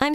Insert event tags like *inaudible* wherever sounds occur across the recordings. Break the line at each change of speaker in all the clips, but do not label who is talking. I'm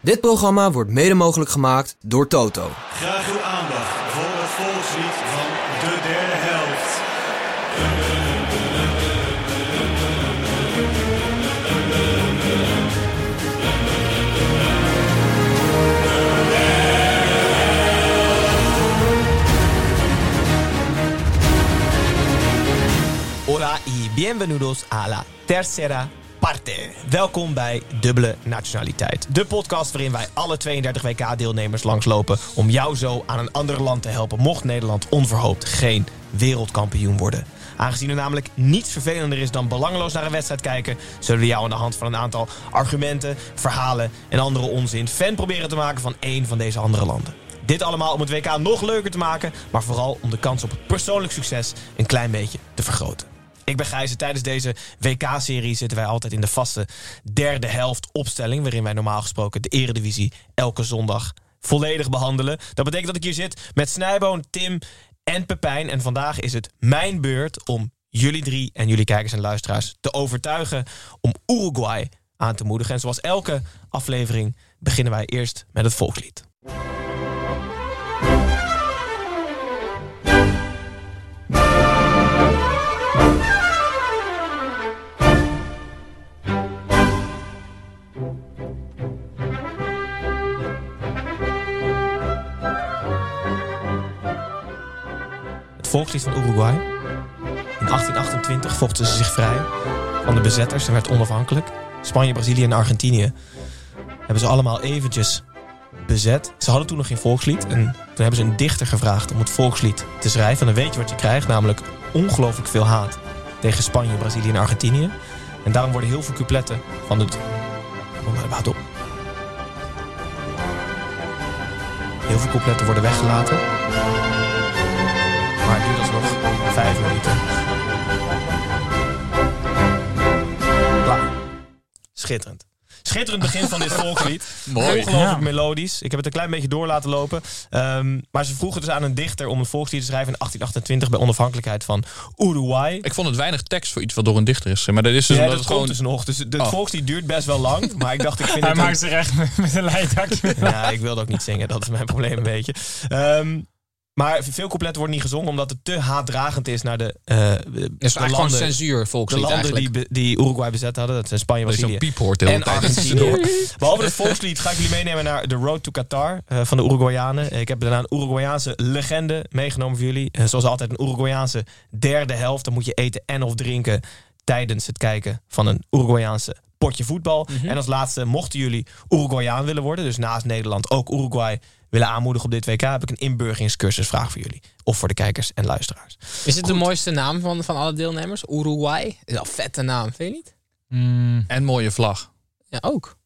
Dit programma wordt mede mogelijk gemaakt door Toto.
Graag uw aandacht voor het volkslied van de derde helft.
Hola y bienvenidos a la tercera parte. Welkom bij Dubbele Nationaliteit. De podcast waarin wij alle 32 WK-deelnemers langslopen... om jou zo aan een ander land te helpen... mocht Nederland onverhoopt geen wereldkampioen worden. Aangezien er namelijk niets vervelender is dan belangeloos naar een wedstrijd kijken... zullen we jou aan de hand van een aantal argumenten, verhalen en andere onzin... fan proberen te maken van één van deze andere landen. Dit allemaal om het WK nog leuker te maken, maar vooral om de kans op het persoonlijk succes een klein beetje te vergroten. Ik ben Gijs en tijdens deze WK-serie zitten wij altijd in de vaste derde helft opstelling, waarin wij normaal gesproken de eredivisie elke zondag volledig behandelen. Dat betekent dat ik hier zit met Snijboon, Tim en Pepijn en vandaag is het mijn beurt om jullie drie en jullie kijkers en luisteraars te overtuigen om Uruguay aan te moedigen. En zoals elke aflevering beginnen wij eerst met het volkslied. Het volkslied van Uruguay. In 1828 vochten ze zich vrij van de bezetters en werd onafhankelijk. Spanje, Brazilië en Argentinië hebben ze allemaal eventjes bezet. Ze hadden toen nog geen volkslied en toen hebben ze een dichter gevraagd om het volkslied te schrijven. En dan weet je wat je krijgt, namelijk ongelooflijk veel haat tegen Spanje, Brazilië en Argentinië. En daarom worden heel veel coupletten van het... Oh, maar Wacht op. Heel veel coupletten worden weggelaten. Maar het duurt alsnog vijf minuten. Klaar. Schitterend. Schitterend begin van dit volkslied. Ongelooflijk melodisch. Ik heb het een klein beetje door laten lopen. Ehm, maar ze vroegen dus aan een dichter om een volkslied te schrijven in 1828 bij onafhankelijkheid van Uruguay.
Ik vond het weinig tekst voor iets wat door een dichter is. Maar dat is dus
ja, dat
omdat
komt
het gewoon...
dus nog. Dus het
Oh.
volkslied duurt best wel
*laughs*
lang. Maar ik dacht, ik vind
Hij
het... een-
maakt zich echt met- met een leidakje.
Ja, ik wilde ook niet zingen. Dat is mijn probleem een beetje. Ehm, maar veel coupletten worden niet gezongen omdat het te haatdragend is naar de, eh, de
Het is eigenlijk gewoon
landen,
censuur,
de
volkslied
landen
eigenlijk.
die, be- die Uruguay bezet hadden. Dat zijn Spanje,
Dat je zo'n
Brazilië
piep hoort de hele
en
tijd.
Argentinië. Behalve het volkslied ga ik jullie meenemen naar The Road to Qatar eh, van de Uruguayanen. Ik heb daarna een Uruguayaanse legende meegenomen voor jullie. Eh, zoals altijd een Uruguayaanse derde helft. Dan moet je eten en of drinken tijdens het kijken van een Uruguayaanse potje voetbal. En als laatste, mochten jullie Uruguayaan willen worden, dus naast Nederland ook Uruguay willen aanmoedigen op dit WK, heb ik een inburgeringscursusvraag voor jullie. Of voor de kijkers en luisteraars.
Is het de mooiste naam van, van alle deelnemers? Uruguay? Is wel een vette naam, vind je niet?
Mm,
*laughs* En mooie vlag.
Ja, ook.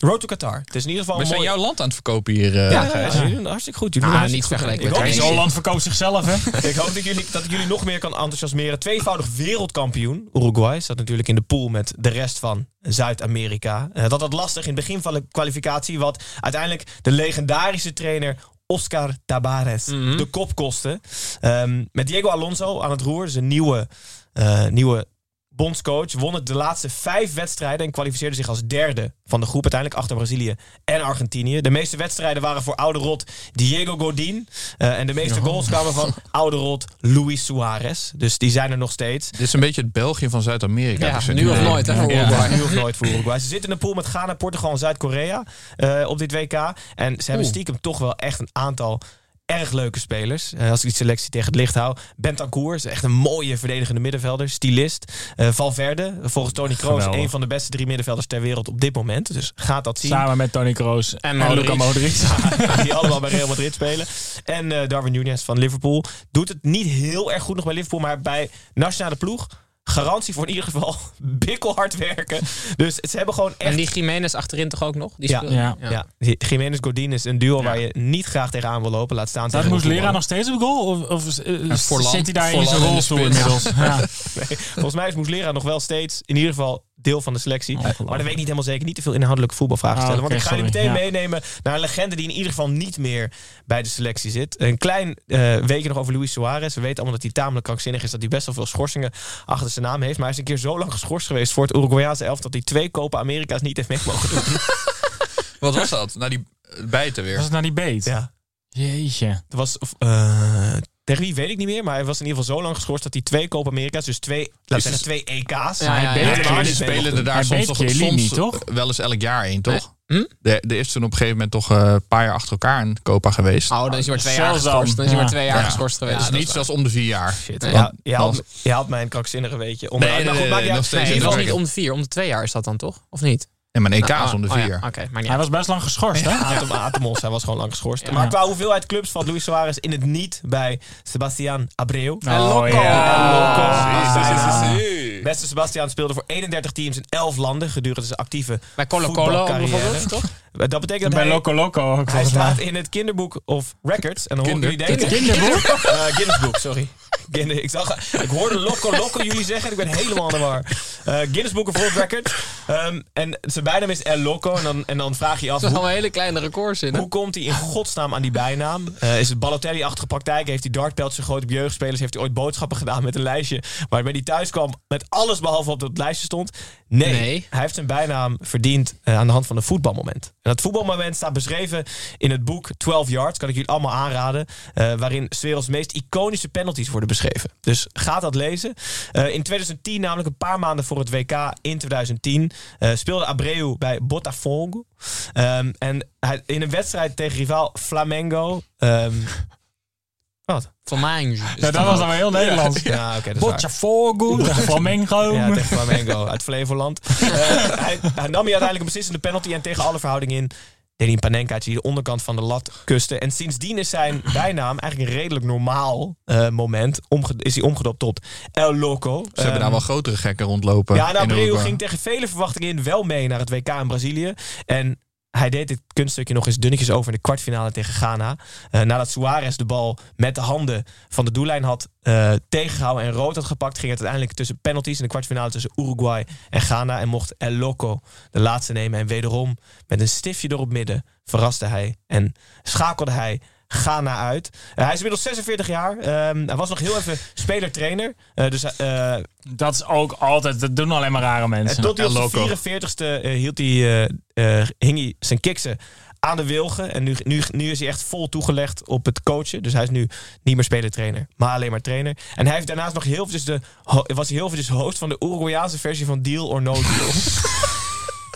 Road to Qatar. Het is in ieder geval
We
een
zijn
mooie...
jouw land aan het verkopen hier. eh.
Ja, Gijs, jullie doen het hartstikke goed. Jullie doen
Ah,
het
niet
hartstikke goed.
vergeleken
Ik
met
ook
Thijs.
niet.
Zoland verkoopt zichzelf, hè?
*laughs* Ik hoop dat, jullie, dat ik jullie nog meer kan enthousiasmeren. Tweevoudig wereldkampioen. Uruguay staat natuurlijk in de pool met de rest van Zuid-Amerika. Eh, dat had lastig in het begin van de kwalificatie. Wat uiteindelijk de legendarische trainer Oscar Tabares de kop kostte. Ehm, met Diego Alonso aan het roer. Zijn nieuwe, eh, nieuwe bondscoach. Won het de laatste vijf wedstrijden. En kwalificeerde zich als derde van de groep. Uiteindelijk achter Brazilië en Argentinië. De meeste wedstrijden waren voor oude rot Diego Godin. Eh, en de meeste goals kwamen van oude rot Luis Suarez. Dus die zijn er nog steeds.
Dit is een beetje het België van Zuid-Amerika.
Ja,
Dus het-
nu of nooit, hè, voor
Ja,
Uruguay.
nu of nooit voor Uruguay. Ze zitten in de pool met Ghana, Portugal en Zuid-Korea eh, op dit WK. En ze hebben stiekem toch wel echt een aantal erg leuke spelers. Eh, als ik die selectie tegen het licht hou. Bentancourt is echt een mooie verdedigende middenvelder. Stylist. Eh, Valverde, volgens Tony Kroos,
Geweldig.
een van de beste drie middenvelders ter wereld op dit moment. Dus gaat dat zien.
Samen met Tony Kroos en,
Modric.
Luca
*laughs*
Modric.
*laughs* die allemaal bij Real Madrid spelen. En eh, Darwin Nunes van Liverpool. Doet het niet heel erg goed nog bij Liverpool, maar bij nationale ploeg Garantie voor in ieder geval *laughs* bikkelhard werken. Dus ze hebben gewoon echt...
En die Jiménez achterin toch ook nog? Die
Ja.
speelde-
Ja.
Ja, Jiménez Godin is een duo waar je niet graag tegenaan wil lopen. Laat staan
Staat
tegen een *laughs*
Moeslera
voetballer.
nog steeds op goal? Of, of eh,
Forlan.
*laughs* zit hij daar in
Forlan
zijn
in de
rolstoel
spits.
inmiddels? Ja.
Nee, volgens mij is Moeslera nog wel steeds, in ieder geval, deel van de selectie. maar dat weet ik niet helemaal zeker. Niet te veel inhoudelijke voetbalvragen
Ah,
stellen. want
oké,
ik ga jullie meteen
sorry.
meenemen naar een legende die in ieder geval niet meer bij de selectie zit. Een klein eh, weekje nog over Luis Suarez. We weten allemaal dat hij tamelijk krankzinnig is. Dat hij best wel veel schorsingen achter zijn naam heeft. Maar hij is een keer zo lang geschorst geweest voor het Uruguayaanse elf. dat hij twee Copa Amerika's niet heeft mee mogen
*laughs*
doen.
*laughs* Wat was dat? Nou, die eh, bijten
Was
weer.
het naar die beet?
ja,
Jeetje.
het was. eh, tegen wie weet ik niet meer, maar hij was in ieder geval zo lang geschorst dat hij twee Copa Amerika's, dus twee, laten we zeggen twee EK's.
Ja, ja, ja.
helemaal niet
Maar
mee
die
mocht
spelen
doen.
er daar
Hij
soms, toch,
beet Chiellini,
soms
toch?
wel eens elk jaar één, toch?
Hm?
Er, er is toen op een gegeven moment toch eh, een paar jaar achter elkaar een Copa geweest.
Oh, dan is hij maar twee
Zelfs
jaar geschorst. Dan is hij maar
dan.
twee jaar geschorst geweest.
Het is
Ja,
niet
dat
zoals om de vier jaar.
Shit,
Nee.
ja, je,
Want-
haalt, je haalt mijn krankzinnige weetje. Om
Nee,
maar
nee,
goed,
nee,
maakt niet
nog
uit.
is waar.
steeds
Nee,
in
het
de
was
werking.
niet om de vier. Om de twee jaar is dat dan toch? Of niet?
Ja, maar een EK E is
Ah,
om de
oh ja,
vier.
Oké, maar niet
Hij
uit.
was best lang geschorst, hè?
Atom Atomos, hij was gewoon lang geschorst.
Ja.
Maar qua hoeveelheid clubs valt Luis Suarez in het niet bij Sebastián Abreu.
Oh, Loco.
En Loco.
Ah,
Ah, Beste Sebastian speelde voor 31 teams in 11 landen gedurende zijn actieve
Bij Colo Colo
voetbalcarrière.
bijvoorbeeld, toch?
Dat betekent dat
Bij
hij,
Loco Loco ook,
hij
volgens mij.
staat in het kinderboek of records. En dan hoor ik jullie
Kinder-
denken...
*laughs*
Kinderboek?
Eh, Guinnessboek, sorry. Guinness, ik, zag, ik hoorde Loco Loco jullie zeggen en ik ben helemaal aan de war. Eh Guinness Book of World Record. Ehm, en zijn bijnaam is El Loco. En dan, en dan vraag je je af,
Er
hoe,
zijn wel hele kleine records in. hè?
hoe komt hij in godsnaam aan die bijnaam? Eh, is het Balotelli-achtige praktijk? Heeft hij dartpeltjes gegooid op jeugdspelers? Heeft hij ooit boodschappen gedaan met een lijstje waarbij hij thuis kwam met alles behalve op dat lijstje stond? Nee,
Nee.
hij heeft zijn bijnaam verdiend eh, aan de hand van een voetbalmoment. En dat voetbalmoment staat beschreven in het boek 12 Yards, kan ik jullie allemaal aanraden, eh, waarin 's werelds meest iconische penalties worden beschreven. Dus ga dat lezen. Eh, in 2010, namelijk een paar maanden voor het WK in 2010, eh, speelde Abreu bij Botafogo. Ehm, en hij, in een wedstrijd tegen rivaal Flamengo. ehm, *laughs* wat?
Van mij. is het
Ja, dat was dan wel heel Nederlands.
Ja, oké, dat is waar.
Botafogo, Flamengo.
Ja, tegen Flamengo uit Flevoland. Eh, hij, hij nam hier uiteindelijk een beslissende penalty en tegen alle verhouding in deed hij een panenkaatje die de onderkant van de lat kuste. En sindsdien is zijn bijnaam eigenlijk een redelijk normaal eh, moment. Omge- is hij omgedoopt tot El Loco. Ehm,
Ze hebben daar wel grotere gekken rondlopen.
Ja, en
in
Abreu
Europa.
ging tegen vele verwachtingen in wel mee naar het WK in Brazilië. En hij deed dit kunststukje nog eens dunnetjes over in de kwartfinale tegen Ghana. Eh, nadat Suarez de bal met de handen van de doellijn had eh, tegengehouden en rood had gepakt, ging het uiteindelijk tussen penalties in de kwartfinale tussen Uruguay en Ghana. En mocht El Loco de laatste nemen. En wederom met een stiftje door op midden verraste hij en schakelde hij. Ghana uit. Eh, hij is inmiddels 46 jaar. Ehm, hij was nog heel even speler-trainer. Eh, dus eh,
Dat is ook altijd, dat doen alleen maar rare
en
mensen.
tot hij
El
op
Loco.
zijn 44ste eh, hield hij, eh, eh, hing hij zijn kiksen aan de wilgen. En nu, nu, nu is hij echt vol toegelegd op het coachen. Dus hij is nu niet meer spelertrainer, maar alleen maar trainer. En hij heeft daarnaast nog heel veel dus de, ho- was hij heel veel dus host van de Uruguayaanse versie van Deal or No
*laughs*
Deal.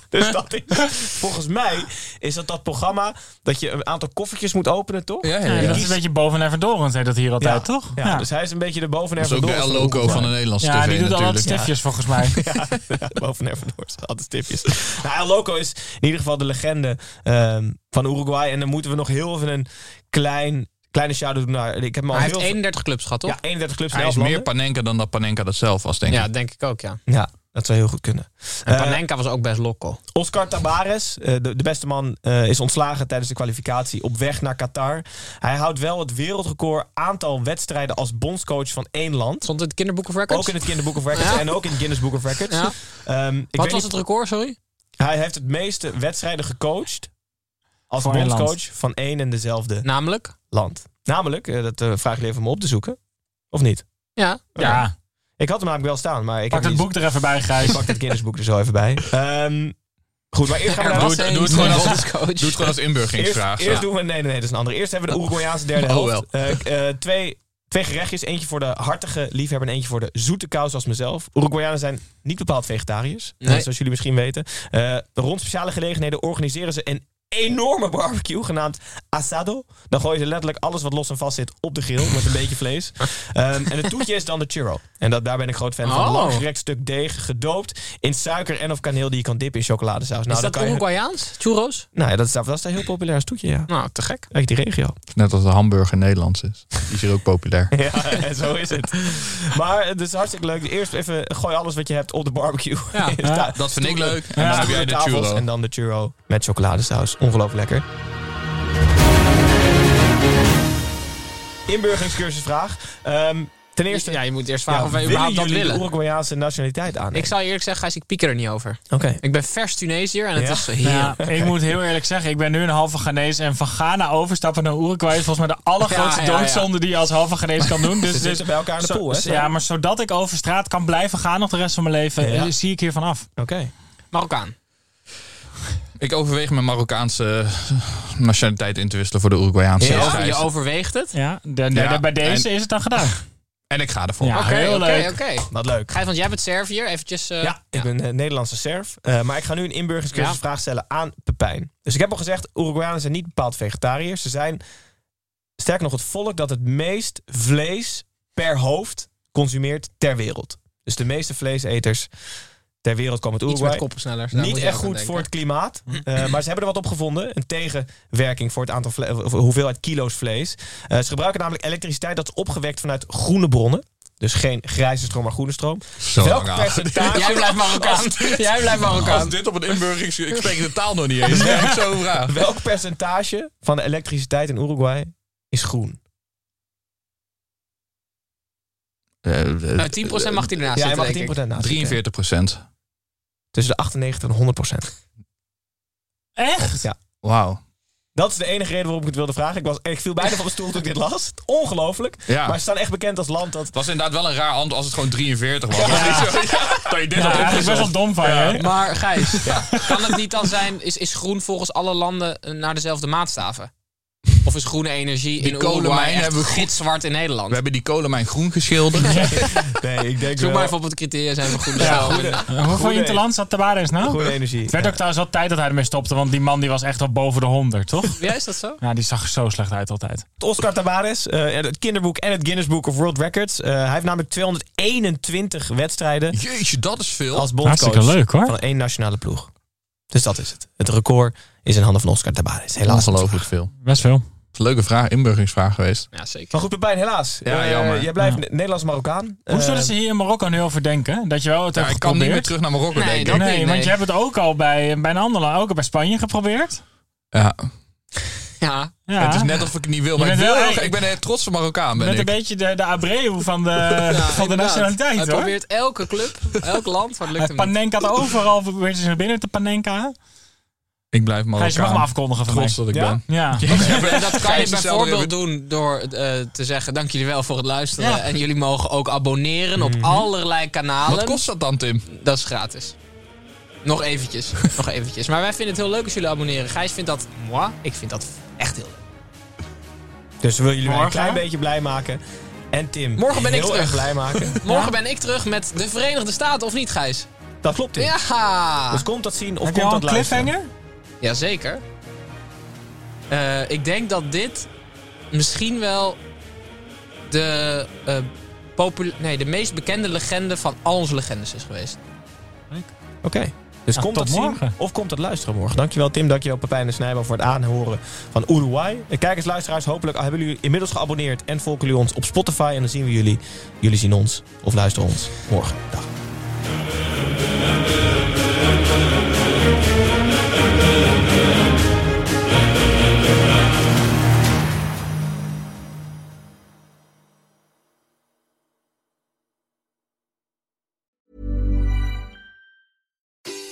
Dus dat is, volgens mij is dat dat programma dat je een aantal koffertjes moet openen, toch?
Ja, ja,
Ja,
ja.
dat is een beetje boven en verdoren, zei dat hier altijd, toch?
Ja, dus hij is een beetje de boven
Dat is ook de El Loco van de Nederlandse
Ja,
TV
die doet al altijd
natuurlijk.
stiftjes volgens mij.
*laughs* ja, boven Erfendoor. Altijd stipjes. Nou, El Loco is in ieder geval de legende ehm, van Uruguay. En dan moeten we nog heel even een klein, kleine shout-out doen naar... Ik heb hem al
Maar hij
heel
heeft
veel-
31 clubs gehad, toch?
ja, 31 clubs in
Hij is
11
meer
landen.
Panenka dan dat Panenka dat zelf was, denk ik.
Ja, denk ik ook, ja.
Ja, dat zou heel goed kunnen.
En
Eh,
Panenka was ook best lokko.
Oscar Tabares, eh, de, de beste man, eh, is ontslagen tijdens de kwalificatie op weg naar Qatar. Hij houdt wel het wereldrecord aantal wedstrijden als bondscoach van één land.
Stond in het kinderboek of records?
Ook in het Kinderboek of Records
Ja.
en ook in het Guinness Book of Records.
Ja.
Ehm, ik
Wat
weet
was
niet-
het record, sorry?
Hij heeft het meeste wedstrijden gecoacht als
Voor één
bondscoach van één en dezelfde
Namelijk?
land. Namelijk, eh, dat eh, vraag ik jullie even om op te zoeken. Of niet?
Ja.
Ja,
Ik had hem namelijk wel staan, maar ik
pak
heb
het
niet-
boek er even bij, Gijs.
Ik pak het Guinnessboek er zo even bij. Ehm, goed, maar eerst gaan we
Er
naar...
was
doe
één
het gewoon als-
bondscoach.
Doe het gewoon als
Eerst,
inburgingsvraag.
eerst doen we... Nee, nee, nee, dat is een ander. Eerst hebben we de Uruguayaanse derde
Oh,
helft.
wel.
Eh, eh, twee, twee gerechtjes. Eentje voor de hartige liefhebber en eentje voor de zoete kous als mezelf. Uruguayanen zijn niet bepaald vegetariërs. eh,
Nee.
zoals jullie misschien weten. Eh, rond speciale gelegenheden organiseren ze een enorme barbecue genaamd asado. Dan gooien ze letterlijk alles wat los en vast zit op de grill
*laughs*
met een beetje vlees. Ehm, en het toetje is dan de churro. En dat, daar ben ik groot fan van.
Oh.
Lang gerekt stuk deeg, gedoopt in suiker en of kaneel die je kan dippen in chocoladesaus. Nou,
is
dan
dat
kan je,
Uruguayaans? Churros?
nou ja, dat is, dat is een heel populair als toetje, ja.
Nou, te gek.
Uit die regio.
Net als de hamburger Nederlands is. Die is hier ook populair.
Ja, *laughs* zo is het. Maar het is hartstikke leuk. Eerst even gooi alles wat je hebt op de barbecue. *laughs*
Ja,
Er staat-
Dat vind ik leuk. En
Ja,
dan heb jij de
tafels
churro.
En dan de churro met chocoladesaus. Ongelooflijk lekker. Inburgeringscursusvraag. Ehm ten eerste,
Ja, je moet eerst vragen
ja,
of wij
willen
überhaupt
jullie
dat willen.
de Uruguayaanse nationaliteit aan?
Ik zou je eerlijk zeggen, Gijs, ik pieker er niet over.
Oké.
Ik ben vers Tunesiër en het
Ja?
is
Ja,
heerlijk.
ik moet heel eerlijk zeggen, ik ben nu een halve Ghanese en van Ghana overstappen naar Uruguay is volgens mij de allergrootste
Ja, ja, ja.
doodzonde die je als halve Ghanese kan doen. Dus,
Ze
dus
zitten bij elkaar in de
zo-
pool, hè?
Ja, maar zodat ik over straat kan blijven gaan nog de rest van mijn leven,
Ja.
eh, zie ik hiervan af.
Oké.
Marokkaan.
Ik overweeg mijn Marokkaanse nationaliteit in te wisselen voor de Uruguayaanse.
Ja.
Ja.
Oh, je overweegt het?
Ja, de- de-
Ja,
de- bij deze
en-
is het dan gedaan.
En ik ga ervoor.
Ja.
Oké,
heel
oké,
leuk.
oké.
Wat leuk.
Gijs, want jij bent Serviër. Eventjes... eh,
Ja, ik ben eh, Nederlandse serf. Eh, maar ik ga nu een inburgeringscursusvraag stellen aan Pepijn. Dus ik heb al gezegd, Uruguayanen zijn niet bepaald vegetariërs. Ze zijn, sterker nog, het volk dat het meest vlees per hoofd consumeert ter wereld. Dus de meeste vleeseters ter wereld komen uit
Iets met
Uruguay.
koppensnellers. daar
Niet
moet je
echt
ook aan
goed
denken. Hm.
voor het klimaat. eh, maar ze hebben er wat op gevonden. Een tegenwerking voor het aantal vle- of hoeveelheid kilo's vlees. Eh, ze gebruiken namelijk elektriciteit dat is opgewekt vanuit groene bronnen. Dus geen grijze stroom, maar groene stroom.
Zo
Welk
lang aan.
percentage...
Jij blijft Marokkaan.
*laughs*
Jij blijft
Als
Marokkaan.
dit op een inburgering... Ik spreek de taal nog niet eens. Ja. Ik zo vraag.
*laughs*
Welk percentage van de elektriciteit in Uruguay is groen?
Nou,
Eh, 10% mag hij ernaast
ja, je
zitten,
mag 10%
denk ik.
naast.
43 procent.
Tussen de 98 en 100 procent.
*laughs*
Echt?
Ja.
Wauw.
Dat is de enige reden waarom ik het wilde vragen. Ik, was, ik viel bijna van mijn stoel toen ik dit las. Ongelooflijk.
Ja.
Maar ze staan echt bekend als land
*laughs*
dat...
Het was inderdaad wel een raar antwoord als het gewoon 43 was. Dat is zo- ja, dat je dit
Ja,
had
eigenlijk best wel
opgezocht.
dom van je. hè?
Maar Gijs, kan het niet dan zijn, is, is groen volgens alle landen eh, naar dezelfde maatstaven? Of is groene energie
Die
in
kolenmijn
Uruguay echt
hebben we goed-
gitzwart in Nederland?
We hebben die kolenmijn groen geschilderd.
Nee, ik denk
Zoek
wel...
maar even op het criteria zijn we groene
Ja,
stroom.
goede,
Eh, Hoeveel
goede-
interland zat Tabares nou?
Goede energie.
Het werd ook trouwens wel tijd dat hij ermee stopte, want die man die was echt al boven de 100, toch? *laughs*
Ja, is dat zo?
Ja, die zag er zo slecht uit altijd.
Oscar Tabares, eh, het kinderboek en het Guinness Book of World Records. Eh, hij heeft namelijk 221 wedstrijden
Jeetje, dat is veel.
als bondscoach.
Hartstikke leuk, hoor.
Van één nationale ploeg. Dus dat is het. Het record is in handen van Oscar Tabares. Helaas.
Ongelooflijk veel.
Best veel.
Leuke vraag, inburgeringsvraag geweest.
Ja, zeker.
Maar goed, Pepijn, helaas.
Ja,
Eh,
jammer.
Jij blijft
Ja.
Ne- Nederlands-Marokkaan.
Hoe
Eh,
zullen ze hier in Marokko nu over denken? Dat je wel het
Ja,
hebt
ik kan niet meer terug
geprobeerd?
naar Marokko,
Nee,
denk ik.
dat-
Nee,
Nee.
want je hebt het ook al bij, bij een ander land, ook al bij Spanje geprobeerd.
Ja.
Ja.
Ja.
Het is net of ik het niet wil,
Je
maar ik,
bent
wil
wel-
heel graag- ik ben een trotse Marokkaan,
Met
ben
een
ik.
beetje de, de Abreu van
*laughs*
de,
Ja,
van de
inderdaad. Hij
nationaliteit, hoor.
probeert elke club, elk land, maar het lukt
Hij
hem niet.
panenka'd overal, probeert ze naar binnen te panenka.
Ik blijf
Gijs, je mag
Marokkaan.
me afkondigen van mij.
Oh, trots dat ik
Ja?
ben.
Ja.
En dat kan
Gijs
je
is zelf weer-
bijvoorbeeld doen door eh, te zeggen: Dank jullie wel voor het luisteren.
Ja.
En jullie mogen ook abonneren op allerlei kanalen.
Mhm. Wat kost dat dan, Tim?
Dat is gratis. Nog eventjes. *laughs* Nog eventjes. Maar wij vinden het heel leuk als jullie abonneren. Gijs vindt dat moi. Ik vind dat echt heel leuk.
Dus we willen jullie weer een
Morgen?
klein beetje blij maken. En Tim,
Morgen ben ik
heel
terug.
erg blij *laughs* maken.
Morgen ben ik terug met de Verenigde Staten, of niet, Gijs?
Dat klopt, Tim.
Ja!
Dus komt dat zien of
Heb je
komt
al
dat
een
luisteren.
cliffhanger?
Jazeker. Eh, ik denk dat dit misschien wel de, eh, popul- nee, de meest bekende legende van al onze legendes is geweest.
Oké. Dus
Ja,
komt
tot
dat zien
morgen.
of komt dat luisteren morgen. Dankjewel Tim, dankjewel Pepijn en Snijboom voor het aanhoren van Uruguay. Eh, Kijkers, luisteraars, hopelijk hebben jullie inmiddels geabonneerd en volgen jullie ons op Spotify. En dan zien we jullie. Jullie zien ons of luisteren ons morgen. Dag.